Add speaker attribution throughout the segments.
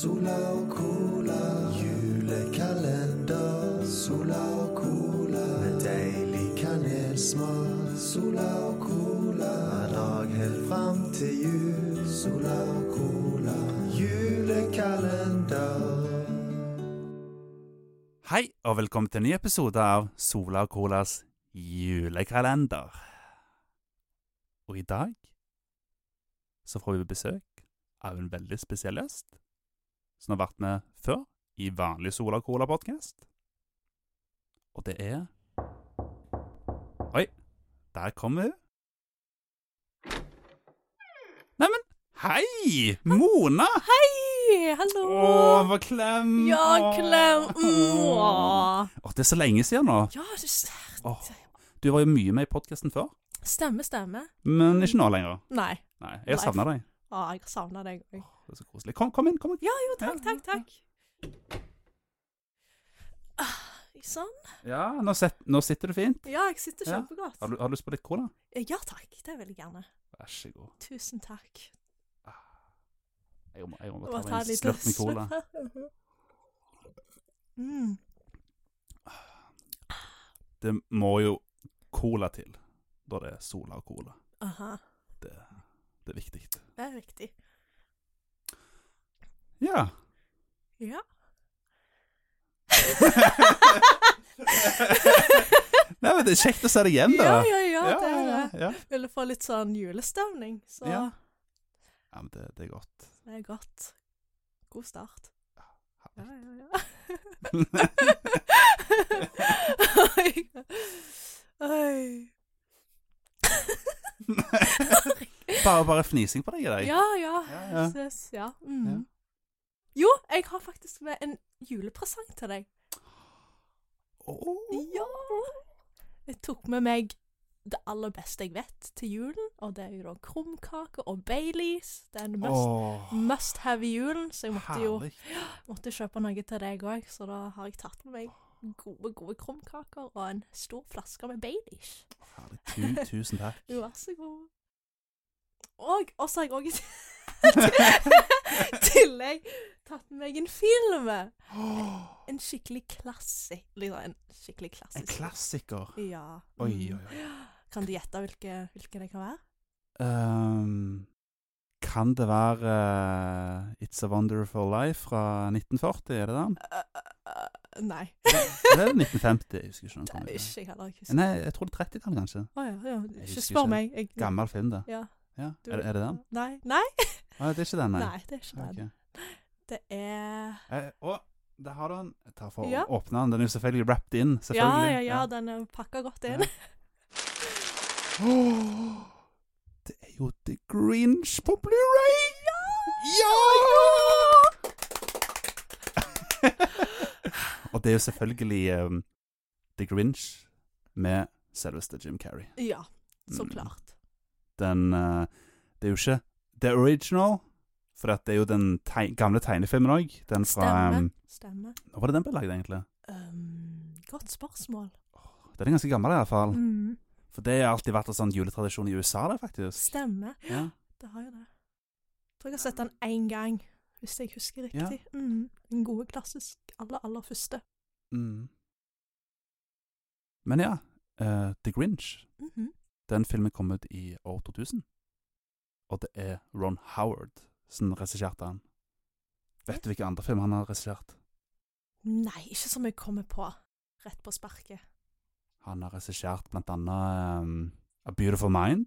Speaker 1: Sola og cola, julekalender. Sola og cola, med deilig kanelsmak. Sola og cola, hver dag helt fram til jul. Sola og cola, julekalender.
Speaker 2: Hei, og velkommen til en ny episode av Sola og Colas julekalender. Og i dag så får vi besøk av en veldig spesiell gjest som har vært med før i vanlig Sola og Cola-podkast. Og det er Oi, der kommer hun. Neimen, hei! Mona!
Speaker 3: Hei! Hallo!
Speaker 2: Å, hva klem!
Speaker 3: ja,
Speaker 2: Å.
Speaker 3: klem! Mwah.
Speaker 2: Å, det er så lenge siden nå.
Speaker 3: Ja, det s-
Speaker 2: Åh, du var jo mye med i podkasten før,
Speaker 3: stemme, stemme.
Speaker 2: men ikke nå lenger.
Speaker 3: Nei.
Speaker 2: Nei, jeg savner deg.
Speaker 3: Å, jeg har savna deg òg.
Speaker 2: Det er så koselig. Kom, kom inn. kom inn.
Speaker 3: Ja, jo, takk, takk, takk. Ah, Sånn.
Speaker 2: Ja, nå, set, nå sitter du fint.
Speaker 3: Ja, jeg sitter
Speaker 2: Ja.
Speaker 3: kjempegodt. Eh,
Speaker 2: Har du, har du lyst på litt cola?
Speaker 3: Ja takk, det vil jeg gjerne.
Speaker 2: Vær så god.
Speaker 3: Tusen takk.
Speaker 2: Jeg må, jeg må
Speaker 3: Og
Speaker 2: bare ta meg en slurk med cola.
Speaker 3: slurk. Mm.
Speaker 2: Det må jo cola til. Da det er Sola og cola.
Speaker 3: Aha,
Speaker 2: Det, det er viktig.
Speaker 3: det er riktig.
Speaker 2: Ja.
Speaker 3: Ja.
Speaker 2: Nei, men Det er kjekt å se deg igjen, da.
Speaker 3: Ja, ja, ja, det er det.
Speaker 2: ja, ja.
Speaker 3: Ville få litt sånn julestemning, så
Speaker 2: Ja. Ja, men det, det er godt.
Speaker 3: det er godt. God start. Ja, ja, ja. Oi. Oi.
Speaker 2: Bare, bare fnising på deg i dag.
Speaker 3: Ja, ja.
Speaker 2: Ja, ja.
Speaker 3: Ses, ja.
Speaker 2: Ja.
Speaker 3: Mm. Jo, jeg har faktisk med en julepresang til deg.
Speaker 2: Åh.
Speaker 3: Ja! Jeg tok med meg det aller beste jeg vet til julen, og det er jo da krumkake og Baileys. Det er en must,
Speaker 2: Åh,
Speaker 3: must have i julen, så jeg måtte jo
Speaker 2: herlig.
Speaker 3: måtte kjøpe noe til deg òg, så da har jeg tatt med meg gode, gode krumkaker og en stor flaske med Baileys.
Speaker 2: herlig. Tu, tusen takk.
Speaker 3: Jo, Vær så god. Og og så har jeg òg i tillegg tatt med meg en film.
Speaker 2: Åh,
Speaker 3: En skikkelig klassisk. Liksom en skikkelig
Speaker 2: en
Speaker 3: klassisk.
Speaker 2: klassiker.
Speaker 3: Ja.
Speaker 2: Oi,
Speaker 3: Mm.
Speaker 2: oi, oi.
Speaker 3: Kan du gjette hvilke, hvilke det kan være?
Speaker 2: Ehm, kan det være eh, It's a Wonderful Life fra 1940? Er det den?
Speaker 3: Øh, øh, øh, nei.
Speaker 2: Eller er det 1950? Jeg husker ikke. når den kom
Speaker 3: Det er
Speaker 2: ut.
Speaker 3: ikke jeg heller. Ikke
Speaker 2: Nei, jeg tror det er 30-tallet, kanskje.
Speaker 3: Å ja, ja. Ikke
Speaker 2: husker
Speaker 3: spør
Speaker 2: ikke.
Speaker 3: meg. Jeg,
Speaker 2: Gammel film, det.
Speaker 3: Ja,
Speaker 2: Ja.
Speaker 3: du-
Speaker 2: Er, det- er det den?
Speaker 3: Nei. Nei?
Speaker 2: Å, det er ikke den, nei.
Speaker 3: Nei, det er ikke den.
Speaker 2: Ok.
Speaker 3: Det er
Speaker 2: Eh, å, der har du den. Jeg tar for
Speaker 3: Ja.
Speaker 2: å åpne den. Den er jo selvfølgelig wrapped inn.
Speaker 3: Ja,
Speaker 2: Selvfølgelig.
Speaker 3: ja, ja, den er pakka godt inn.
Speaker 2: Ja. Åh, Det er jo The Grinch på Blu-ray! Ja! Og det er jo selvfølgelig um, The Grinch med selveste Jim Carrey.
Speaker 3: Ja, så
Speaker 2: Mm.
Speaker 3: klart.
Speaker 2: Den eh, Det er jo ikke The Original, for at det er jo den teg gamle tegnefilmen òg. Den fra
Speaker 3: Stemmer.
Speaker 2: um,
Speaker 3: Stemmer.
Speaker 2: Når var det den ble lagd, egentlig?
Speaker 3: Øhm, godt spørsmål.
Speaker 2: Den er ganske gammel, i hvert fall.
Speaker 3: Mm.
Speaker 2: For det har alltid vært en sånn juletradisjon i USA, det, faktisk.
Speaker 3: Stemmer.
Speaker 2: Ja.
Speaker 3: Det har jo det. Jeg tror jeg har sett den én gang, hvis jeg husker
Speaker 2: Ja.
Speaker 3: riktig. Mm. Den gode klassisk aller, aller første.
Speaker 2: Mm. Men ja, eh, The Grinch,
Speaker 3: Mhm.
Speaker 2: den filmen kom ut i år 2000. Og det er Ron Howard som regisserte den. Vet du hvilke andre film han har regissert?
Speaker 3: Nei, ikke som jeg kommer på rett på sparket.
Speaker 2: Han har regissert blant annet ehm, A Beautiful Mind.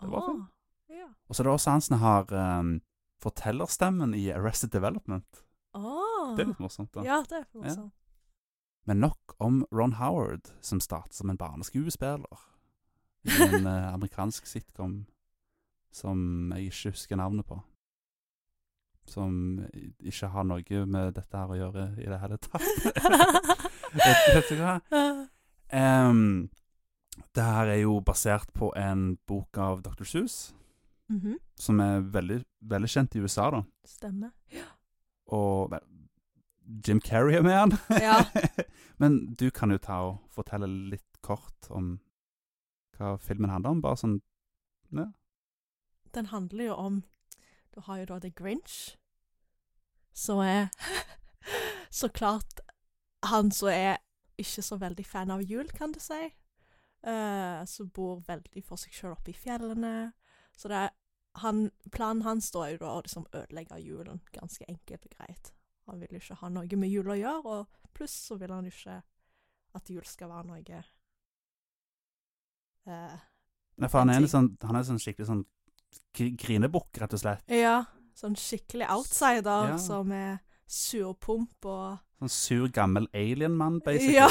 Speaker 2: Det var fint.
Speaker 3: Ah, ja.
Speaker 2: Og så er det også han som har ehm, fortellerstemmen i Arrested Development.
Speaker 3: Ah.
Speaker 2: Det er litt morsomt, da.
Speaker 3: Ja, det er for
Speaker 2: Ja.
Speaker 3: sånn.
Speaker 2: Men nok om Ron Howard, som startet som en barneskuespiller i en eh, amerikansk sitcom som jeg ikke husker navnet på. Som i- ikke har noe med dette her å gjøre i det hele tatt. vet, vet du hva? Em, det her er jo basert på en bok av Dr. Seuss,
Speaker 3: Mhm.
Speaker 2: som er veldig, veldig kjent i USA, da.
Speaker 3: Stemmer.
Speaker 2: Og vel, Jim Carrey er med han.
Speaker 3: Ja.
Speaker 2: Men du kan jo ta og fortelle litt kort om hva filmen handler om. Bare sånn
Speaker 3: Den handler jo om Du har jo da The Grinch, så er så klart han som er ikke så veldig fan av jul, kan du si, eh, som bor veldig for seg sjøl oppe i fjellene. Så det er han, Planen hans da er jo da å liksom ødelegge julen, ganske enkelt og greit. Han vil jo ikke ha noe med jul å gjøre, og pluss så vil han jo ikke at jul skal være noe eh,
Speaker 2: Nei, for han er en sånn, han er sånn skikkelig sånn gr- grinebukk, rett og slett.
Speaker 3: Ja, sånn skikkelig outsider
Speaker 2: Ja.
Speaker 3: som er surpomp og
Speaker 2: Sånn sur, gammel alien-mann, basically.
Speaker 3: Ja,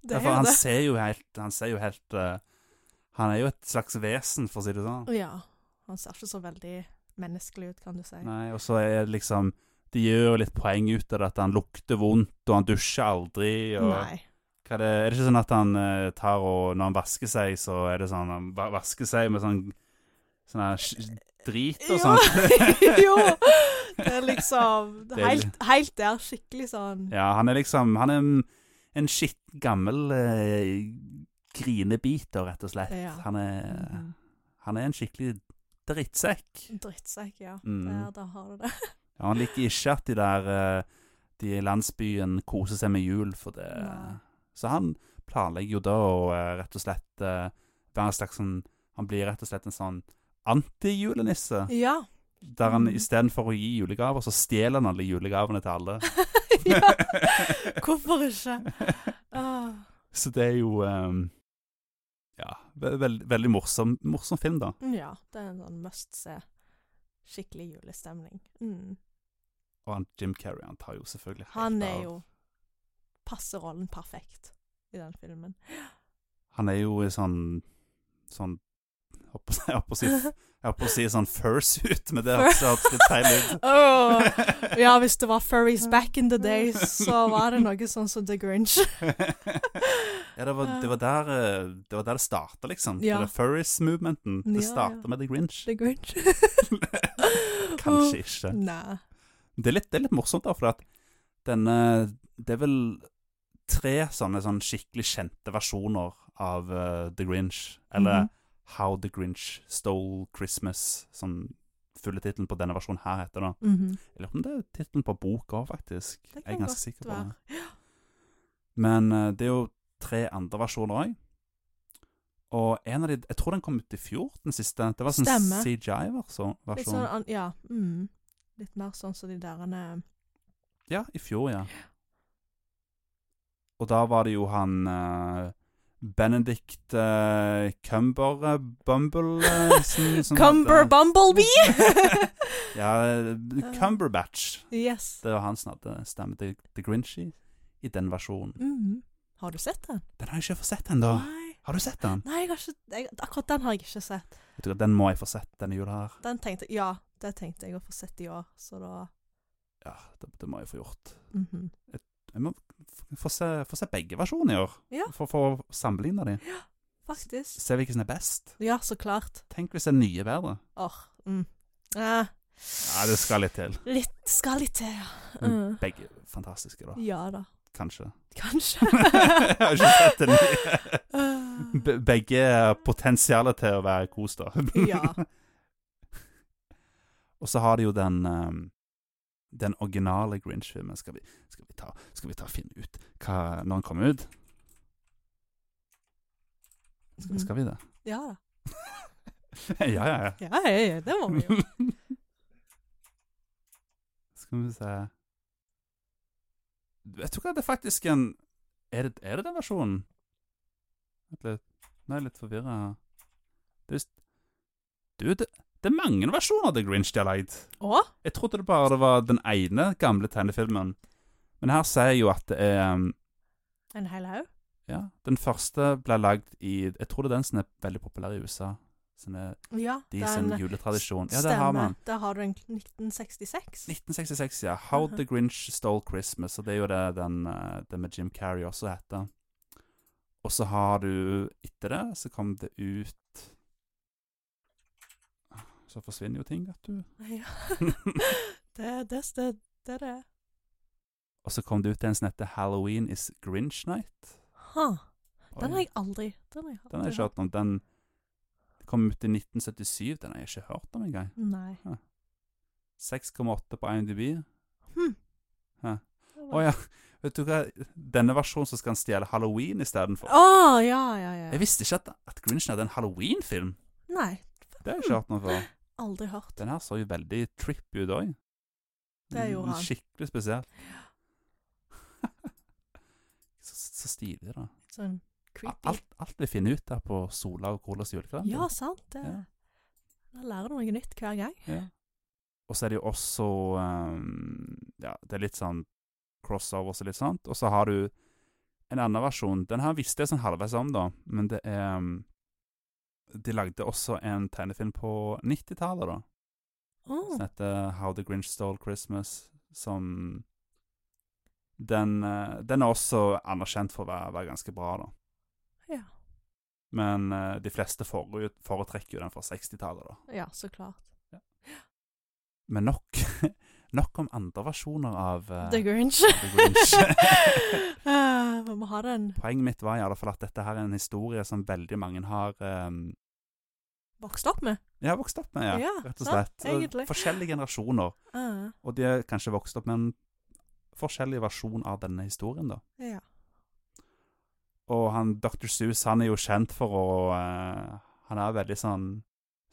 Speaker 2: det
Speaker 3: det
Speaker 2: er
Speaker 3: er jo
Speaker 2: han
Speaker 3: det.
Speaker 2: ser jo helt Han ser jo helt eh, Han er jo et slags vesen, for å si det sånn.
Speaker 3: Ja, han ser ikke så veldig menneskelig ut, kan du si.
Speaker 2: Nei, og så er det liksom De gjør jo litt poeng ut av det at han lukter vondt, og han dusjer aldri, og
Speaker 3: Nei.
Speaker 2: Hva er, det, er det ikke sånn at han eh, tar og Når han vasker seg, så er det sånn Han va- vasker seg med sånn Sånn her sk- drit og
Speaker 3: Jo,
Speaker 2: sånt.
Speaker 3: jo, det er liksom
Speaker 2: sånn. Det er
Speaker 3: helt, helt der, skikkelig sånn
Speaker 2: Ja, han er liksom Han er en, en skitt gammel eh, grinebiter, rett og slett.
Speaker 3: Ja.
Speaker 2: Han, er,
Speaker 3: Mhm.
Speaker 2: han er en skikkelig drittsekk.
Speaker 3: Drittsekk, ja.
Speaker 2: Mm.
Speaker 3: Der, der har du det.
Speaker 2: Ja, han liker ikke at de der eh, De i landsbyen koser seg med jul, for det
Speaker 3: Nei.
Speaker 2: Så han planlegger jo da å eh, rett og slett eh, være en slags sånn Han blir rett og slett en sånn antijulenisse.
Speaker 3: Ja.
Speaker 2: Der han
Speaker 3: Mhm.
Speaker 2: istedenfor å gi julegaver, så stjeler han alle julegavene til alle.
Speaker 3: ja. Hvorfor ikke? Ah. Åh.
Speaker 2: Så det er jo eh, Ja, ve veld veldig morsom, morsom film, da.
Speaker 3: Ja, det er en sånn must se. Skikkelig julestemning. Mm.
Speaker 2: Og han, Jim Carrey han tar jo selvfølgelig helt
Speaker 3: Han er
Speaker 2: av.
Speaker 3: jo Passer rollen perfekt i den filmen.
Speaker 2: Han er jo i sånn Sånn jeg holdt på å si- Jeg holdt på å si, jeg holdt på å si sånn fursuit, men det hørtes absolutt feil ut.
Speaker 3: Åh, ja, hvis det var furries back in the days, så var det noe sånn som The Grinch.
Speaker 2: Ja, det var, det var der eh, Det var der det starta, liksom.
Speaker 3: Ja.
Speaker 2: Det der furries-movementen.
Speaker 3: Ja,
Speaker 2: Det
Speaker 3: ja.
Speaker 2: starta med The Grinch.
Speaker 3: The Grinch.
Speaker 2: Kanskje ikke.
Speaker 3: Nei.
Speaker 2: Det er litt, det er litt morsomt, da, for at denne Det er vel tre sånne sånn skikkelig kjente versjoner av eh, The Grinch. Eller
Speaker 3: Mhm.
Speaker 2: How The Grinch Stole Christmas, som fulle tittelen på denne versjonen her heter. da.
Speaker 3: Mhm.
Speaker 2: Jeg lurer på om det er tittelen på boka òg, faktisk. Jeg er
Speaker 3: Det kan
Speaker 2: ganske
Speaker 3: godt
Speaker 2: sikker på
Speaker 3: være.
Speaker 2: det. Men eh, det er jo tre andre versjoner òg. Og en av de Jeg tror den kom ut i fjor, den siste. Det var sånn
Speaker 3: Stemmer. Litt
Speaker 2: CGI-versjon.
Speaker 3: sånn an- Ja. Mm. Litt mer sånn som de derene
Speaker 2: Ja, i fjor, ja. Og da var det jo han eh, Benedict eh, Cumber Bumble eh, som- som
Speaker 3: Cumber
Speaker 2: hadde-
Speaker 3: Bumblebee!
Speaker 2: Ja, eh, Cumberbatch.
Speaker 3: yes.
Speaker 2: Det var han som hadde stemme til The Grinchy i den versjonen.
Speaker 3: Mhm. Har du sett den?
Speaker 2: Den har jeg ikke fått sett ennå.
Speaker 3: Nei.
Speaker 2: Har du sett den?
Speaker 3: Nei, jeg har ikke, jeg, akkurat den har jeg ikke sett.
Speaker 2: Vet du hva, Den må jeg få sett denne jula her.
Speaker 3: Den tenkte jeg, ja, det tenkte jeg å få sett i år, så da
Speaker 2: Ja, det, det må jeg få gjort.
Speaker 3: mhm.
Speaker 2: Jeg må f- få se, få se begge versjonene i år.
Speaker 3: Ja.
Speaker 2: For for å sammenligne dem.
Speaker 3: Faktisk.
Speaker 2: Se hvilken som er best.
Speaker 3: Ja, så klart.
Speaker 2: Tenk hvis den nye er bedre.
Speaker 3: Åh. Mm. Eh,
Speaker 2: Ja, det skal litt til.
Speaker 3: litt skal litt til, ja.
Speaker 2: Men
Speaker 3: Mm.
Speaker 2: begge fantastiske, da.
Speaker 3: Ja da.
Speaker 2: Kanskje.
Speaker 3: Kanskje.
Speaker 2: Jeg har ikke sett den nye.
Speaker 3: Eh,
Speaker 2: Be- Begge har potensialet til å være kos, da.
Speaker 3: ja.
Speaker 2: Og så har de jo den ehm, den originale Grinch-filmen. Skal, vi- skal, vi ta- skal vi ta og finne ut hva, når den kom ut?
Speaker 3: Mm.
Speaker 2: Skal vi det?
Speaker 3: Ja da.
Speaker 2: ja, ja, ja.
Speaker 3: Ja, ja, ja, det må vi jo.
Speaker 2: Skal vi se Vet du hva, det er faktisk en Er det, er det den versjonen? Vent litt. Nå er jeg litt forvirra. Det er visst Du, det, det er mange versjoner av The Grinch de har lagd.
Speaker 3: Å?
Speaker 2: Jeg trodde det bare det var den ene gamle tegnefilmen. Men her sier jeg jo at det er um,
Speaker 3: En hel haug?
Speaker 2: Ja, den første ble lagd i Jeg tror det er den som er veldig populær i USA. Som er
Speaker 3: Ja.
Speaker 2: de sin
Speaker 3: den
Speaker 2: juletradisjon. Ja, det har
Speaker 3: stemmer.
Speaker 2: man.
Speaker 3: Der har du en 1966.
Speaker 2: 1966, ja. How
Speaker 3: Mhm.
Speaker 2: the Grinch Stole Christmas. Og det er jo det den, eh, det med Jim Carrey også heter. Og så har du Etter det så kom det ut Så forsvinner jo ting, vet du.
Speaker 3: Ja. Det, det, det, det er det.
Speaker 2: Og så kom det ut en som heter Halloween is Grinch Night.
Speaker 3: Ha.
Speaker 2: Oi,
Speaker 3: Den har jeg aldri Den har jeg,
Speaker 2: den har jeg ikke hørt om. Den kom ut i 1977. Den har jeg ikke hørt om engang.
Speaker 3: Nei.
Speaker 2: 6,8 på IMDb.
Speaker 3: Hm.
Speaker 2: Hæ? Å ja. Vet du hva, denne versjonen så skal han stjele halloween istedenfor.
Speaker 3: Å, ja, ja, ja.
Speaker 2: Jeg visste ikke at, at Grinchen hadde en halloween-film.
Speaker 3: Nei,
Speaker 2: Det har jeg ikke hørt noe før.
Speaker 3: aldri hørt.
Speaker 2: Den her så jo veldig tripp ut òg.
Speaker 3: Det gjorde han.
Speaker 2: Skikkelig spesiell. så, så stilig, da.
Speaker 3: Sånn creepy.
Speaker 2: Alt, alt vi finner ut der på Sola og Colas julekalender.
Speaker 3: Ja, sant. Det.
Speaker 2: Ja,
Speaker 3: Jeg lærer noe nytt hver gang.
Speaker 2: ja. Og så er det jo også ehm, Ja, det er litt sånn crossovers og litt sånt. Og så har du en annen versjon. Den her visste jeg sånn halvveis om, da, men det er ehm, De lagde også en tegnefilm på 90-tallet, da.
Speaker 3: Å,
Speaker 2: som heter Sånn eh, How the Grinch Stole Christmas, som den, eh, den er også anerkjent for å være, være ganske bra, da.
Speaker 3: Ja.
Speaker 2: Men eh, de fleste forut, foretrekker jo den fra 60-tallet, da.
Speaker 3: ja, så klart.
Speaker 2: Men nok, nok om andre versjoner av eh,
Speaker 3: The Grinch.
Speaker 2: The Grinch.
Speaker 3: Eh, Vi må ha den
Speaker 2: Poenget mitt var i alle fall at dette her er en historie som veldig mange har eh,
Speaker 3: vokst opp med.
Speaker 2: ja, vokst opp med, ja,
Speaker 3: Ja,
Speaker 2: rett og
Speaker 3: sant,
Speaker 2: slett. Og
Speaker 3: egentlig.
Speaker 2: Forskjellige generasjoner.
Speaker 3: Eh,
Speaker 2: Og de er kanskje vokst opp med en forskjellig versjon av denne historien, da.
Speaker 3: ja.
Speaker 2: Og han, Dr. Seuss han er jo kjent for å eh, Han er veldig sånn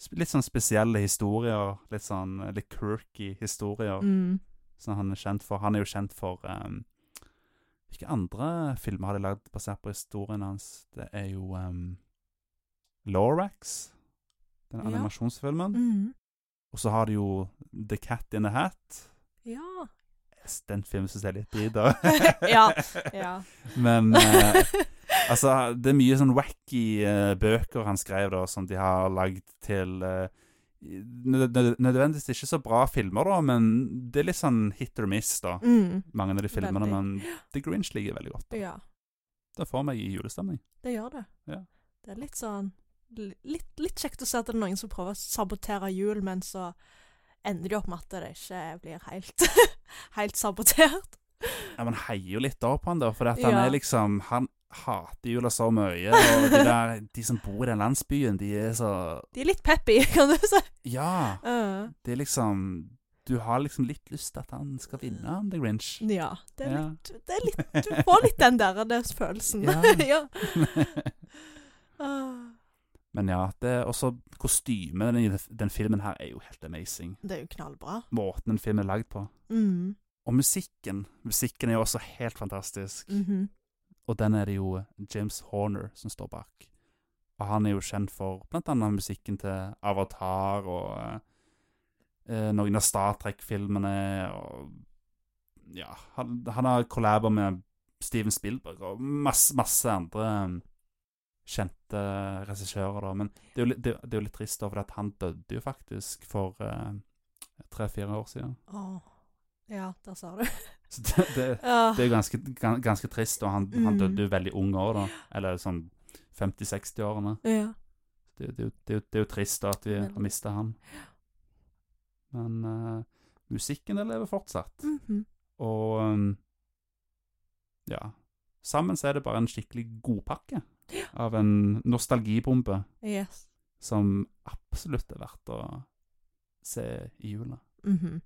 Speaker 2: sp- Litt sånn spesielle historier. Litt sånn eh, litt quirky historier
Speaker 3: Mm.
Speaker 2: som han er kjent for. Han er jo kjent for eh, Hvilke andre filmer har de lagd basert på historien hans? Det er jo um, Lorax, den
Speaker 3: Ja.
Speaker 2: animasjonsfilmen.
Speaker 3: Mm.
Speaker 2: Og så har de jo The Cat in the Hat.
Speaker 3: Ja.
Speaker 2: Den filmen syns jeg er litt drit, da.
Speaker 3: Ja, ja.
Speaker 2: Men eh, Altså, det er mye sånn wacky eh, bøker han skrev, da, som de har lagd til eh, nød nød- Nødvendigvis ikke så bra filmer, da, men det er litt sånn hit or miss, da.
Speaker 3: mm.
Speaker 2: Mange av de filmene,
Speaker 3: Veldig.
Speaker 2: men The Grinch liker jeg veldig godt. da.
Speaker 3: Ja,
Speaker 2: Det får meg i julestemning.
Speaker 3: det gjør det.
Speaker 2: Ja.
Speaker 3: Det er litt sånn li- litt, litt kjekt å se at det er noen som prøver å sabotere jul, men så ender de opp med at det ikke blir helt, helt sabotert.
Speaker 2: Ja, Man heier jo litt da på han, da, for at han
Speaker 3: Ja.
Speaker 2: er liksom Han hater jula så mye, og de, der, de som bor i den landsbyen, de er så
Speaker 3: De er litt peppy, kan du si.
Speaker 2: Ja,
Speaker 3: Eh,
Speaker 2: det er liksom Du har liksom litt lyst til at han skal vinne, han, The Grinch.
Speaker 3: ja, det er
Speaker 2: Ja.
Speaker 3: litt, det er litt Du får litt den der det er følelsen. Ja. Ah,
Speaker 2: Men ja, det er også kostymet i den, den filmen her er jo helt amazing.
Speaker 3: det er jo knallbra.
Speaker 2: Måten den filmen er lagd på.
Speaker 3: Mm.
Speaker 2: Og musikken. Musikken er jo også helt fantastisk.
Speaker 3: mhm.
Speaker 2: Og den er det jo James Horner som står bak. Og han er jo kjent for blant annet musikken til Avatar og eh, noen av Star Trek-filmene og Ja, han, han har kollaber med Steven Spielberg og masse, masse andre eh, kjente regissører, da. Men det er jo, litt- det, det er jo litt trist, da, for at han døde jo faktisk for tre-fire år siden.
Speaker 3: Åh. Ja, der sa du. Ah.
Speaker 2: Så det, det,
Speaker 3: Ja.
Speaker 2: det er jo ganske, gan- ganske trist, og han, han
Speaker 3: Mm.
Speaker 2: døde jo veldig unge år, da. Eller sånn 50-60-årene.
Speaker 3: ja.
Speaker 2: Det, det, er jo- det, er jo- det er jo trist da, at vi
Speaker 3: Veldig.
Speaker 2: har mista han. Men eh, musikken den lever fortsatt.
Speaker 3: Mhm.
Speaker 2: Og um, ja Sammen så er det bare en skikkelig godpakke av en nostalgibombe
Speaker 3: Yes.
Speaker 2: som absolutt er verdt å se i jula.
Speaker 3: Mhm.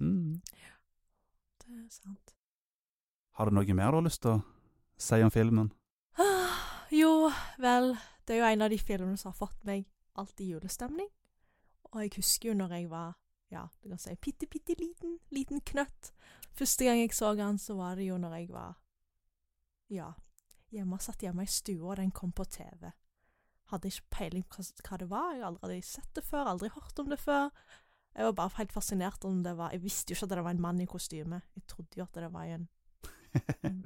Speaker 2: Mm.
Speaker 3: Det er sant.
Speaker 2: Har du noe mer du har lyst til å si om filmen?
Speaker 3: Ah, Jo, vel, det er jo en av de filmene som har fått meg alltid julestemning. Og jeg husker jo når jeg var, ja, du kan si bitte, bitte liten, liten knøtt. Første gang jeg så han, så var det jo når jeg var, ja, hjemme, satt hjemme i stua, og den kom på TV. Hadde ikke peiling på hva- hva det var, jeg hadde aldri sett det før, aldri hørt om det før. Jeg var bare helt fascinert om det var, jeg visste jo ikke at det var en mann i kostyme. Jeg trodde jo at det var en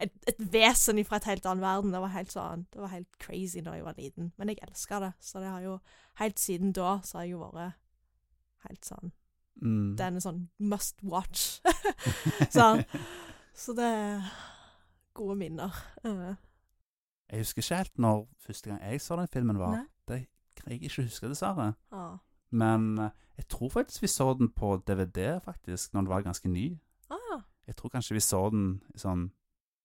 Speaker 3: et, et vesen fra et helt annen verden. Det var helt sånn, det var helt crazy når jeg var liten. Men jeg elska det, så det har jo Helt siden da så har jeg jo vært helt sånn
Speaker 2: Mm.
Speaker 3: Det er en sånn must watch. sånn. Så det er gode minner. Eh,
Speaker 2: Jeg husker ikke helt når første gang jeg så den filmen var.
Speaker 3: Nei?
Speaker 2: Det greier jeg ikke å huske, dessverre.
Speaker 3: Ah.
Speaker 2: Men eh, jeg tror faktisk vi så den på DVD, faktisk, når den var ganske ny.
Speaker 3: Ah.
Speaker 2: Jeg tror kanskje vi så den i sånn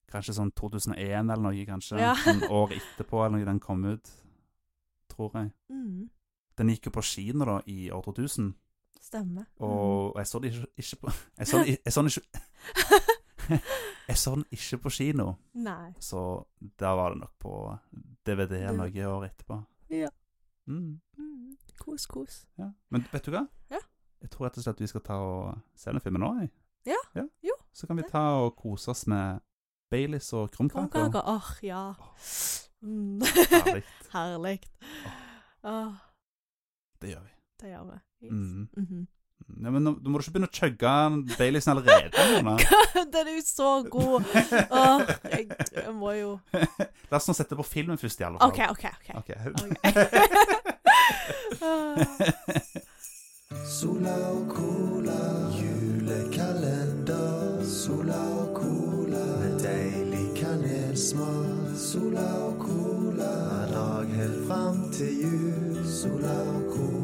Speaker 2: Kanskje sånn 2001 eller noe, kanskje.
Speaker 3: Ja.
Speaker 2: Sånn år etterpå eller når den kom ut, tror jeg.
Speaker 3: Mm.
Speaker 2: Den gikk jo på kino da i år 2000,
Speaker 3: Stemmer. Mm.
Speaker 2: Og jeg så den ikke, ikke på Jeg så den i- jeg så den ikke Jeg så den ikke på kino,
Speaker 3: Mm. Nei.
Speaker 2: så der var det nok på DVD eller noe år etterpå.
Speaker 3: Ja.
Speaker 2: Mm,
Speaker 3: Mm. Kos, kos.
Speaker 2: ja. Men vet du hva?
Speaker 3: Ja.
Speaker 2: Jeg tror rett og slett vi skal ta og se den filmen nå. Jeg.
Speaker 3: Ja, jo,
Speaker 2: Så kan vi
Speaker 3: det.
Speaker 2: ta og kose oss med Baileys og krumkaker.
Speaker 3: Krumkaker. Åh, ja. Mm.
Speaker 2: Herlig.
Speaker 3: Herlig. Åh,
Speaker 2: Det gjør vi.
Speaker 3: det gjør vi. Yes.
Speaker 2: Mm.
Speaker 3: Mhm.
Speaker 2: Ja, men nå, nå må du ikke begynne å chugge Baileysen allerede. Mona.
Speaker 3: Den er jo så god. Åh, jeg, jeg må jo
Speaker 2: La oss nå sette på filmen først, i alle fall.
Speaker 3: OK, OK. ok.
Speaker 2: Ok.
Speaker 3: Ah.
Speaker 1: Sola og cola, julekalender. Sola og cola, med deilig kanelsmak. Sola og cola, hver dag helt fram til jul. Sola og cola.